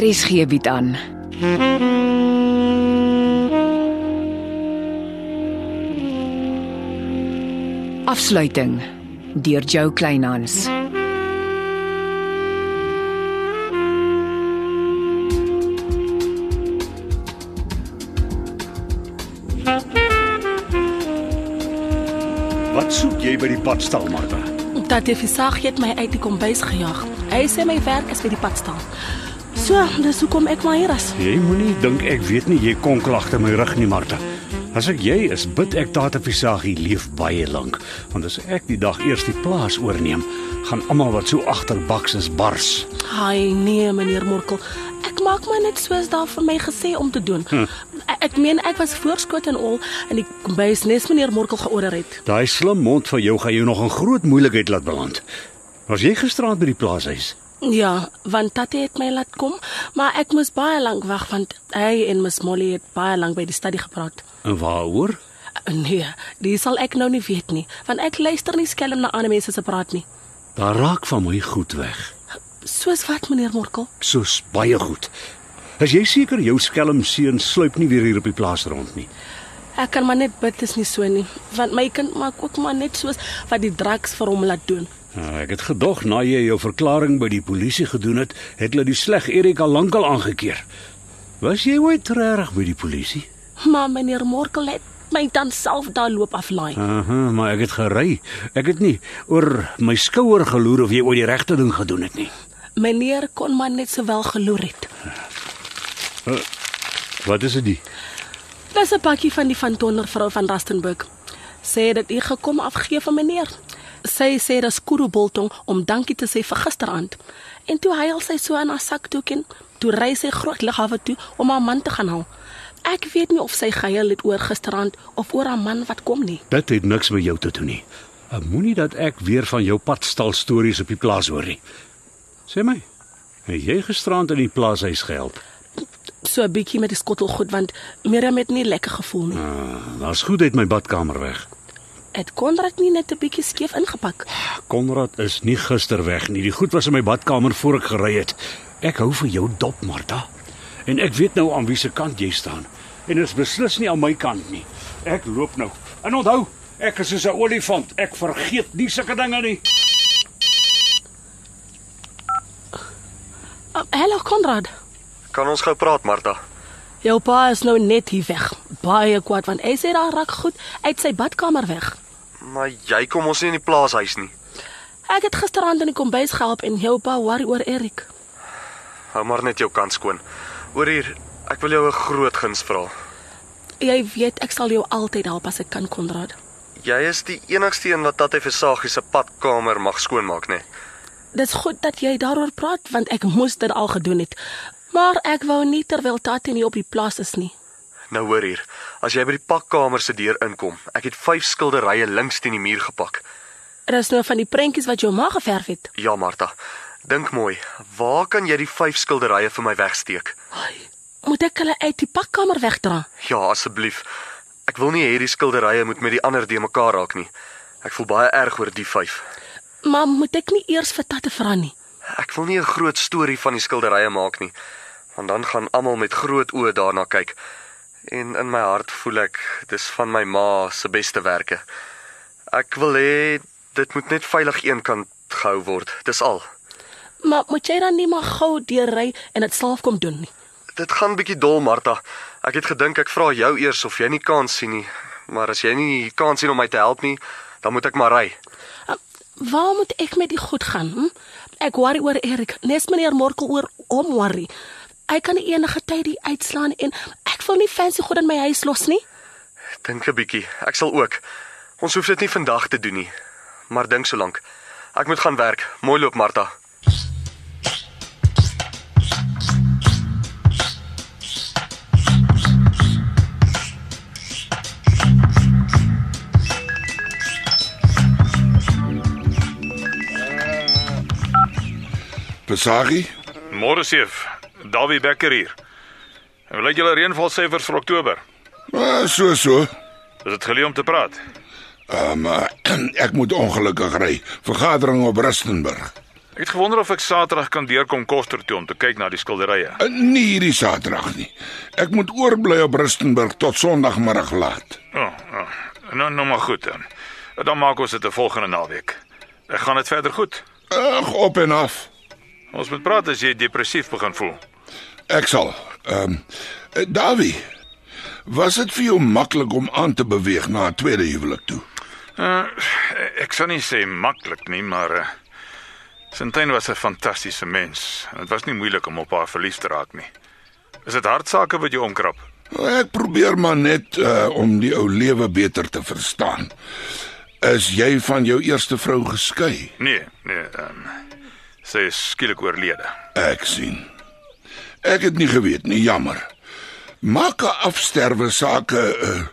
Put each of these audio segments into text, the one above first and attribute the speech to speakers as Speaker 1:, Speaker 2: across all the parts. Speaker 1: RSG bied aan. Afsluiting deur Jo Kleinhans.
Speaker 2: Wat soek jy by die padstal, Martha?
Speaker 3: Dat die visagie het my uit die kombuis gejaag. Hy sê my werk is by die padstal. So, dis hoekom ek maar hier is.
Speaker 2: Jy moenie dink ek weet nie jy kon klagte my rug nie, Martha. As ek jy is, bid ek Tata Visagie leef baie lank, want as ek die dag eers die plaas oorneem, gaan almal wat so agterbaks is bars.
Speaker 3: Ai nee, meneer Morkel. Ek maak maar net soos daar van my gesê om te doen. Hm. Ek meen ek was voorskot en al in die kombuis nes meneer Morkel georder het.
Speaker 2: Daai slim mond van jou gaan jou nog in groot moeilikheid laat beland. Was jy gisteraand by die plaashuis?
Speaker 3: Ja, want Tatie het my laat kom, maar ek moes baie lank wag want hy en Miss Molly het baie lank by die studie gepraat.
Speaker 2: En waaroor?
Speaker 3: Nee, dis sal ek nou nie weet nie, want ek luister nie skelm na ander mense se praat nie.
Speaker 2: Daar raak van my goed weg.
Speaker 3: Soos wat meneer Morkel?
Speaker 2: Soos baie goed. As jy seker jou skelm seun sluip nie weer hier op die plaas rond nie.
Speaker 3: Ek kan maar net bid dis nie so nie, want my kind maak ook maar net soos wat die drugs vir hom laat doen.
Speaker 2: Nou, Ek het gedog na jy jou verklaring by die polisie gedoen het, het hulle die sleg Erika lankal aangekeer. Was jy ooit reg by die polisie?
Speaker 3: Maar meneer Morkel het my dan self daar loop aflaai.
Speaker 2: Aha, maar ek het gery. Ek het nie oor my skouer geloer of jy ooit die regte ding gedoen het nie.
Speaker 3: Meneer kon maar net sowel geloer het.
Speaker 2: Wat is dit?
Speaker 3: Dis 'n pakkie van die van Tonner vrou van Rustenburg. Sê dat u gekom afgee van meneer. Sy sê dis Kuruboltong om dankie te sê vir gisteraand. En toe hy al sy so in haar sak toe ken, toe ry sy groot lighawe toe om haar man te gaan haal. Ek weet nie of sy gehuil het oor gisteraand of oor haar man wat kom nie.
Speaker 2: Dit het niks met jou te doen nie. Ek Eh, Moenie dat ek weer van jou padstal stories op die plaas hoor nie. Sê my, het jy gisterand in die plaashuis gehelp?
Speaker 3: So 'n bietjie met die skottel goed want Miriam het nie lekker gevoel nie.
Speaker 2: Ah, Daar's goed uit my badkamer weg.
Speaker 3: Het Konrad nie net 'n bietjie skeef ingepak?
Speaker 2: Konrad is nie gister weg nie. Die goed was in my badkamer voor ek gery het. Ek hou vir jou dop, Martha. En ek weet nou aan wie se kant jy staan. En dit is beslis nie aan my kant nie. Ek loop nou. En onthou, ek is soos 'n olifant. Ek vergeet nie sulke dinge nie.
Speaker 3: Uh, Hallo Konrad.
Speaker 4: Kan ons gou praat, Martha?
Speaker 3: Jou pa is nou net hier weg. Baie kwaad want hy sê daar raak goed uit sy badkamer weg.
Speaker 4: Maar jy kom ons nie in die plaashuis nie.
Speaker 3: Ek het gisteraand in die kombuis gehelp en jou pa worry oor Erik.
Speaker 4: Hou maar net jou kant skoon. Oor hier, ek wil jou 'n groot guns vra.
Speaker 3: Jy weet ek sal jou altyd help as ek kan Konrad.
Speaker 4: Jy is die enigste een wat Tatie Versagie se padkamer mag skoonmaak, né?
Speaker 3: Dit's goed dat jy daaroor praat want ek moes dit al gedoen het. Maar ek wou nie terwyl Tatie nie op die plaas is nie.
Speaker 4: Nou hoor hier, as jy by die pakkamer se deur inkom, ek het vyf skilderye links teen die muur gepak.
Speaker 3: Dit is nou van die prentjies wat jou ma geverf het.
Speaker 4: Ja, Martha. Dink mooi, waar kan jy die vyf skilderye vir my wegsteek?
Speaker 3: Moet ek hulle uit die pakkamer wegdra?
Speaker 4: Ja, asseblief. Ek wil nie hê die skilderye moet met die ander de mekaar raak nie. Ek voel baie erg oor die vyf.
Speaker 3: Maar moet ek nie eers vir Tatie vra nie?
Speaker 4: Ek wil nie 'n groot storie van die skilderye maak nie, want dan gaan almal met groot oë daarna kyk. En in my hart voel ek dis van my ma se beste werke. Ek wil hê dit moet net veilig eenkant gehou word. Dis al.
Speaker 3: Maar moet jy dan nie maar gou deurry en dit self kom doen nie?
Speaker 4: Dit gaan bietjie dol, Martha. Ek het gedink ek vra jou eers of jy nie kans sien nie, maar as jy nie kans sien om my te help nie, dan moet ek maar ry.
Speaker 3: Waar moet ek met die goed gaan? Hm? Ek worry oor Erik. Nes meneer Morkel oor hom worry. Hy kan enige tyd die uitslaan en ek wil nie fancy goed in my huis los nie.
Speaker 4: Dink 'n bietjie. Ek sal ook. Ons hoef dit nie vandag te doen nie, maar dink so lank. Ek moet gaan werk. Mooi loop, Martha.
Speaker 5: Pesari,
Speaker 6: Môre seef, Dawie Becker hier. Hoe lyk julle reënvalsyfers vir Oktober?
Speaker 5: ah, so so.
Speaker 6: Is dit geleë om te praat?
Speaker 5: Ah, maar ek moet ongelukkig ry. Vergadering op Rustenburg.
Speaker 6: Ek het gewonder of ek Saterdag kan deurkom Koster toe om te kyk na die skilderye.
Speaker 5: Eh, Nie hierdie Saterdag nie. Ek moet oorbly op Rustenburg tot Sondagmiddag laat.
Speaker 6: O, oh, oh, nou nou maar goed dan. Dan maak ons dit 'n volgende naweek. Ek gaan dit verder goed.
Speaker 5: Ag, op en af.
Speaker 6: Ons moet praat as jy depressief begin voel.
Speaker 5: Ek sal. Ehm eh, Davie, was dit vir jou maklik om aan te beweeg na 'n tweede huwelik toe?
Speaker 6: Uh, ek sou nie sê maklik nie, maar uh, Sintyn was 'n fantastiese mens en dit was nie moeilik om op haar verlief te raak nie. Is dit hartsake wat jou omkrap?
Speaker 5: Ah, Ek probeer maar net uh, om die ou lewe beter te verstaan. Is jy van jou eerste vrou geskei?
Speaker 6: Nee, nee, ehm um, sy is skielik oorlede.
Speaker 5: Ek sien. Ek het nie geweet nie, jammer. Maak 'n afsterwe sake uh,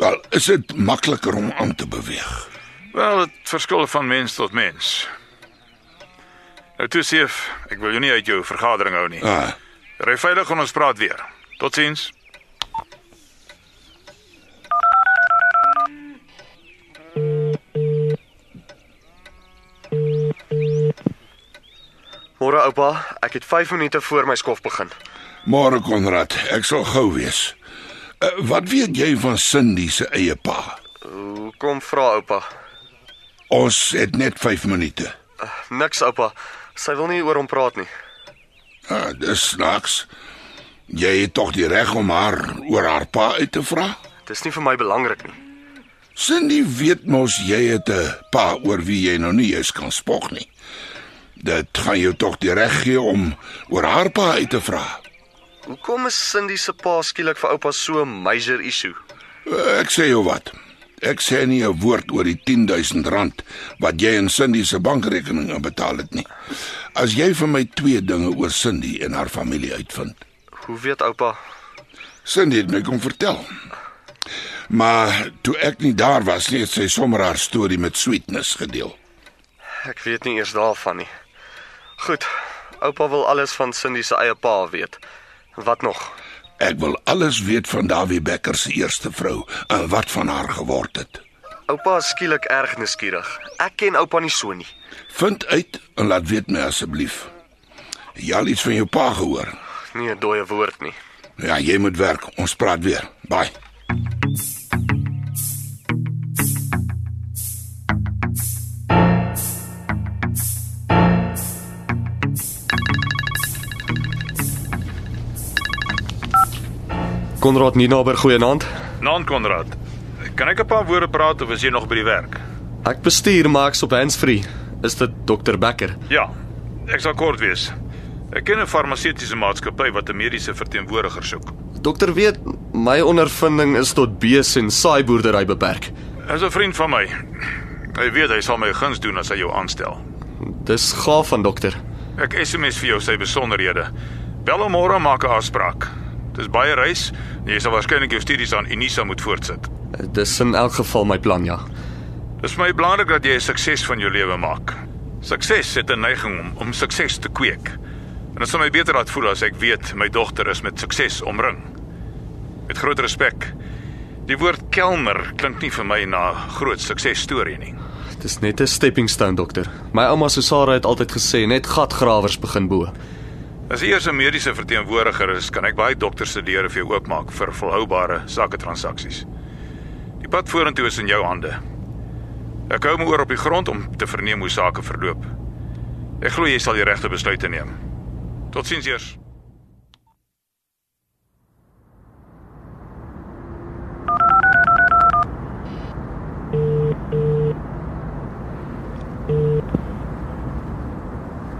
Speaker 5: wel, is dit makliker om aan te beweeg.
Speaker 6: Wel, dit verskil van mens tot mens. Nou toe seef, ek wil jou nie uit jou vergadering hou nie.
Speaker 5: Ah,
Speaker 6: Ry veilig en ons praat weer. Totsiens.
Speaker 4: Môre oupa, ek het 5 minute voor my skof begin.
Speaker 5: môre Konrad, ek sal gou wees. Uh, wat weet jy van Cindy se eie pa?
Speaker 4: Hoekom vra oupa?
Speaker 5: Ons het net 5 minute.
Speaker 4: Eh, Niks oupa. Sy wil nie oor hom praat nie.
Speaker 5: Ah, dis snaaks. Jy het tog die reg om haar oor haar pa uit te vra?
Speaker 4: Dis nie vir my belangrik nie.
Speaker 5: Cindy weet mos jy het 'n pa oor wie jy nou nie eens kan spog nie. Dit gaan jou tog die reg gee om oor haar pa uit te vra.
Speaker 4: Hoekom is Cindy se pa skielik vir oupa so 'n major issue?
Speaker 5: Ek sê jou wat. Ek sê nie 'n woord oor die 10000 rand wat jy in Cindy se bankrekening inbetaal het nie. As jy vir my twee dinge oor Cindy en haar familie uitvind.
Speaker 4: Hoe weet oupa?
Speaker 5: Cindy het my kom vertel. Maar toe ek nie daar was nie, het sy sommer haar storie met sweetness gedeel.
Speaker 4: Ek weet nie eers daarvan nie. Goed. Oupa wil alles van Cindy se eie pa weet. Wat nog?
Speaker 5: Ek wil alles weet van Dawie Becker se eerste vrou en wat van haar geword het.
Speaker 4: Oupa is skielik erg nuuskierig. Ek ken oupa nie so nie.
Speaker 5: Vind uit en laat weet my asseblief. Jy al iets van jou pa gehoor?
Speaker 4: Nie 'n dooie woord nie.
Speaker 5: Ja, jy moet werk. Ons praat weer. Bye.
Speaker 4: Konrad Ninaber, goeienaand.
Speaker 6: Naan Konrad. Kan ek 'n paar woorde praat of is jy nog by die werk?
Speaker 4: Ek bestuur Max op handsfree. Is dit Dr Becker?
Speaker 6: Ja. Ek sal kort wees. Ek ken 'n farmaseutiese maatskappy wat 'n mediese verteenwoordiger soek.
Speaker 4: Dokter weet my ondervinding is tot bees en saaiboerdery beperk.
Speaker 6: Hy's 'n vriend van my. Hy weet hy sal my 'n guns doen as hy jou aanstel.
Speaker 4: Dis gaaf van dokter.
Speaker 6: Ek SMS vir jou sy besonderhede. Bel hom môre en maak 'n afspraak. Dis baie reis. en Jy sal waarskynlik jou studies aan Unisa moet voortsit.
Speaker 4: Dis in elk geval my plan ja.
Speaker 6: Dis vir my belangrik dat jy 'n sukses van jou lewe maak. Sukses het 'n neiging om om sukses te kweek. En dit sal my beter laat voel as ek weet my dogter is met sukses omring. Met groot respek. Die woord kelmer klink nie vir my na 'n groot suksesstorie nie.
Speaker 7: Dis net 'n stepping stone dokter. My ouma Susara het altyd gesê net gatgrawers begin bo.
Speaker 6: As jy eers 'n mediese verteenwoordiger is, kan ek baie dokters se deure vir jou oopmaak vir volhoubare saketransaksies. Die pad vorentoe is in jou hande. Ek hou my oor op die grond om te verneem hoe sake verloop. Ek glo jy sal die regte besluite neem. Totsiens eers.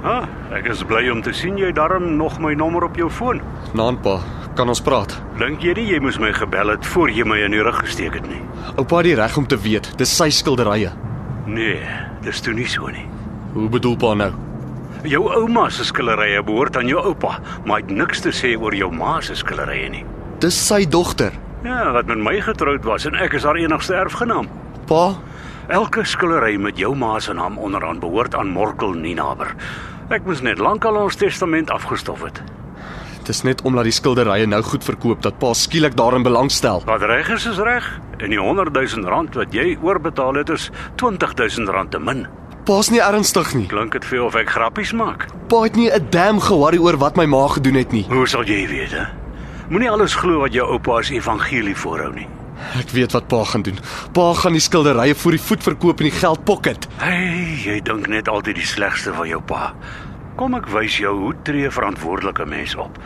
Speaker 8: Ah, ek is bly om te sien jy darm nog my nommer op jou foon.
Speaker 7: Naanpa, kan ons praat?
Speaker 8: Dink jy nie jy moes my gebel het voor jy my in die rug gesteek het nie?
Speaker 7: Oupa het die reg om te weet, dis sy skilderye.
Speaker 8: Nee, dis toe nie so nie.
Speaker 7: Hoe bedoel pa nou?
Speaker 8: Jou ouma se skillerye behoort aan jou oupa, maar hy het niks te sê oor jou ma se skillerye nie.
Speaker 7: Dis sy dogter.
Speaker 8: Ja, wat met my getroud was en ek is haar enigste erfgenaam.
Speaker 7: Pa,
Speaker 8: Elke skillery met jou ma se naam onderaan behoort aan Morkel Ninaber. Ek moes net lankal ons testament afgestof het.
Speaker 7: dis net omdat die skilderye nou goed verkoop dat pa skielik daarin belangstel.
Speaker 8: Wat reg is is reg en die 100 000 rand wat jy oorbetaal het is 20 000 rand te min.
Speaker 7: Pa's nie ernstig nie.
Speaker 8: Klink dit vir jou of ek grappies maak?
Speaker 7: Pa het nie 'n damn ge-worry oor wat my ma gedoen het nie.
Speaker 8: Hoe sal jy weet, hè? Moenie alles glo wat jou oupa as evangelie voorhou nie.
Speaker 7: Ek weet wat pa gaan doen. Pa gaan die skilderye vir die voet verkoop en die geld pocket.
Speaker 8: Hey, jy dink net altyd die slegste van jou pa. Kom ek wys jou hoe tree 'n verantwoordelike mens op.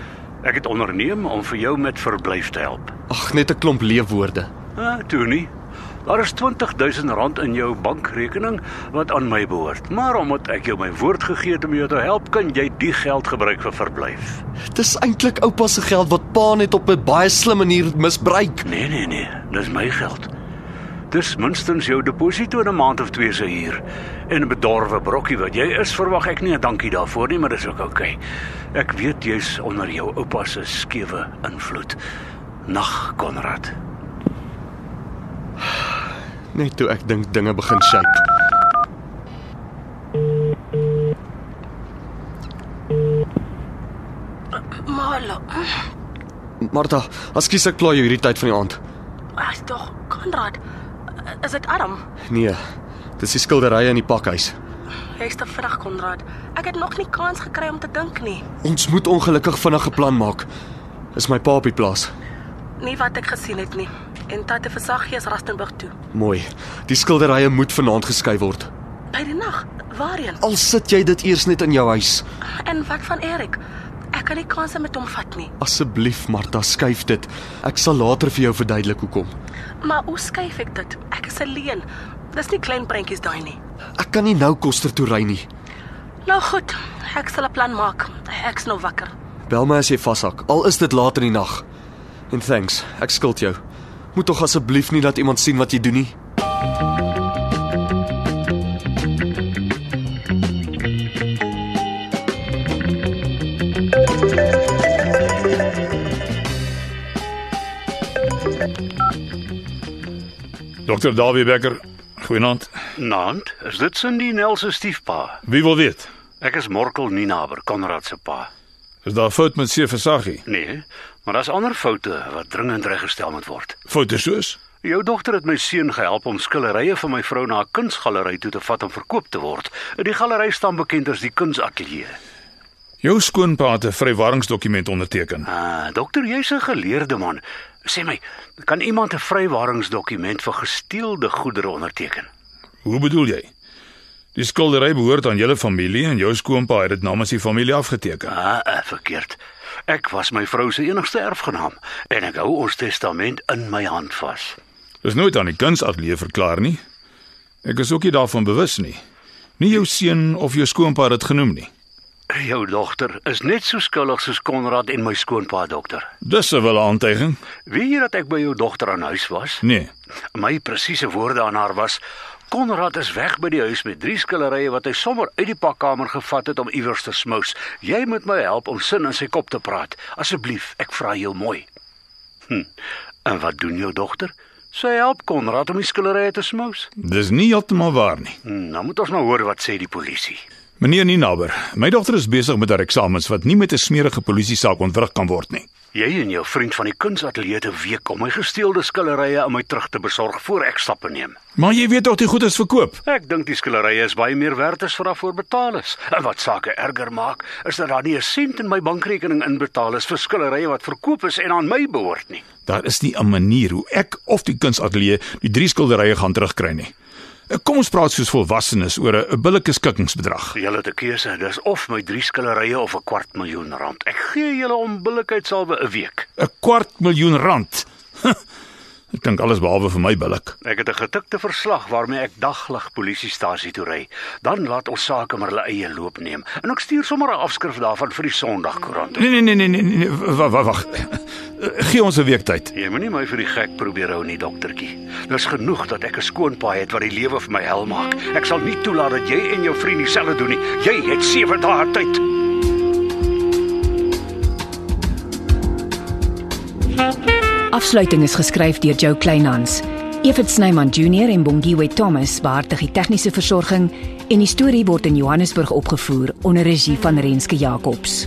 Speaker 8: Ek het onderneem om vir jou met verblyf te help.
Speaker 7: Ag, net 'n klomp leefwoorde.
Speaker 8: Ah, toe nie. Daar is R20000 in jou bankrekening wat aan my behoort. Maar omdat ek jou my woord gegee het om jou te help, kan jy die geld gebruik vir verblyf.
Speaker 7: Dis eintlik oupa se geld wat pa net op 'n baie slim manier misbruik.
Speaker 8: Nee, nee, nee, dis my geld. Dis minstens jou deposito in 'n maand of twee se huur en 'n bedorwe brokkie wat jy is, verwag ek nie 'n dankie daarvoor nie, maar dis ook oukei. Okay. Ek weet jy's onder jou oupa se skewe invloed. Nag, Konrad.
Speaker 7: Net toe ek dink dinge begin shake.
Speaker 3: Malo.
Speaker 7: Martha, ekskuus ek pla jou hierdie tyd van die aand.
Speaker 3: Ag tog, Konrad. Is dit arm?
Speaker 7: Nee. Dis die skilderye in die pakhuis.
Speaker 3: Jy's te vinnig, Konrad. Ek het nog nie kans gekry om te dink nie.
Speaker 7: Ons moet ongelukkig vinnig 'n plan maak. Is my pa op die plaas?
Speaker 3: Nie wat ek gesien het nie. En Tate Versaggie is Rustenburg toe.
Speaker 7: Mooi. Die skilderye moet vanaand geskuif word.
Speaker 3: By die nag, waarheen?
Speaker 7: Al sit jy dit eers net in jou huis.
Speaker 3: En wat van Erik? Ek kan nie kanse met hom vat nie.
Speaker 7: Asseblief, Martha, skuif dit. Ek sal later vir jou verduidelik hoekom.
Speaker 3: Maar hoe skuif ek dit? Ek is alleen. Dis nie klein prentjies daai nie.
Speaker 7: Ek kan nie nou koster toe ry nie.
Speaker 3: Nou goed, ek sal 'n plan maak. Ek's nou wakker.
Speaker 7: Bel my as jy vashak, al is dit laat in die nag. En thanks, ek skuld jou. Moet tog asseblief nie laat iemand sien wat jy doen nie.
Speaker 6: Dr. Dawie Becker, goeienaand.
Speaker 8: Naand, is dit Cindy Nel se stiefpa?
Speaker 6: Wie wil weet?
Speaker 8: Ek is Morkel Ninaber, Konrad se pa.
Speaker 6: Is daar 'n fout met seef Versaggie?
Speaker 8: Nee, maar daar's ander foute wat dringend reggestel moet word.
Speaker 6: Foute soos
Speaker 8: Jou dogter het my seun gehelp om skilderye van my vrou na 'n kunsgalery toe te vat om verkoop te word. Die galery staan bekend as die Kunsatelier.
Speaker 6: jou skoonpa het 'n vrywarings-dokument onderteken.
Speaker 8: Ah, dokter, jy's 'n geleerde man. Sê my, kan iemand 'n vrywaringsdokument vir gesteelde goedere onderteken?
Speaker 6: Hoe bedoel jy? Die skildery behoort aan julle familie en jou skoonpa het dit namens die familie afgeteken.
Speaker 8: Ah, eh, verkeerd. Ek was my vrou se enigste erfgenaam en ek hou ons testament in my hand vas.
Speaker 6: Dis nooit aan die kunsatelier verklaar nie. Ek is ook nie daarvan bewus nie. Nie jou seun of jou skoonpa het dit genoem nie.
Speaker 8: Jou dogter is net so skuldig soos Konrad en my skoonpa dokter.
Speaker 6: Dis 'n wille aantuiging.
Speaker 8: Weet jy dat ek by jou dogter aan huis was?
Speaker 6: Nee.
Speaker 8: My presiese woorde aan haar was: Konrad is weg by die huis met drie skillerye wat hy sommer uit die pakkamer gevat het om iewers te smous. Jy moet my help om sin in sy kop te praat. Asseblief, ek vra jou mooi. Hm. En wat doen jou dogter? Sy help Konrad om die skillerye te smous.
Speaker 6: Dis nie heeltemal waar nie.
Speaker 8: Hm, nou moet ons nou hoor wat sê die polisie.
Speaker 6: Meneer Ninaber, my dogter is besig met haar eksamens wat nie met 'n smerige polisie saak ontwrig kan word nie.
Speaker 8: Jy en jou vriend van die kunsatelier te week om my gesteelde skillerye aan my terug te besorg voor ek stappe neem.
Speaker 6: Maar jy weet tog die goed is verkoop.
Speaker 8: Ek dink die skillerye is baie meer werd as wat daarvoor betaal is. En wat sake erger maak, is dat daar nie 'n sent in my bankrekening inbetaal is vir skillerye wat verkoop is en aan my behoort nie.
Speaker 6: Daar is nie 'n manier hoe ek of die kunsatelier die drie skilderye gaan terugkry nie. Kom ons praat soos volwassenes oor 'n- 'n billike skikkingsbedrag.
Speaker 8: Julle het 'n keuse, dis of my drie skillerye of 'n kwart miljoen rand. Ek gee julle onbillikheidsalwe 'n week.
Speaker 6: 'n Kwart miljoen rand. Ek dink alles behalwe vir my billik.
Speaker 8: Ek het 'n getikte verslag waarmee ek daglig polisiestasie toe ry. Dan laat ons sake maar hulle eie loop neem. En ek stuur sommer 'n afskrif daarvan vir die Sondagkoerant.
Speaker 6: Nee nee nee nee nee, nee wag wag. Gee ons 'n week tyd.
Speaker 8: Jy Nee, moenie my vir die gek probeer hou nie, doktertjie. Dis genoeg dat ek 'n skoonpa het wat die lewe vir my hel maak. Ek sal nie toelaat dat jy en jou vriend dieselfde doen nie. Jy het sewe dae tyd.
Speaker 1: Afsluiting is geskryf deur Jo Kleinhans. Evit Snyman Junior en Bongwe Thomas beheerdig die tegniese versorging en die storie word in Johannesburg opgevoer onder regie van Renske Jacobs.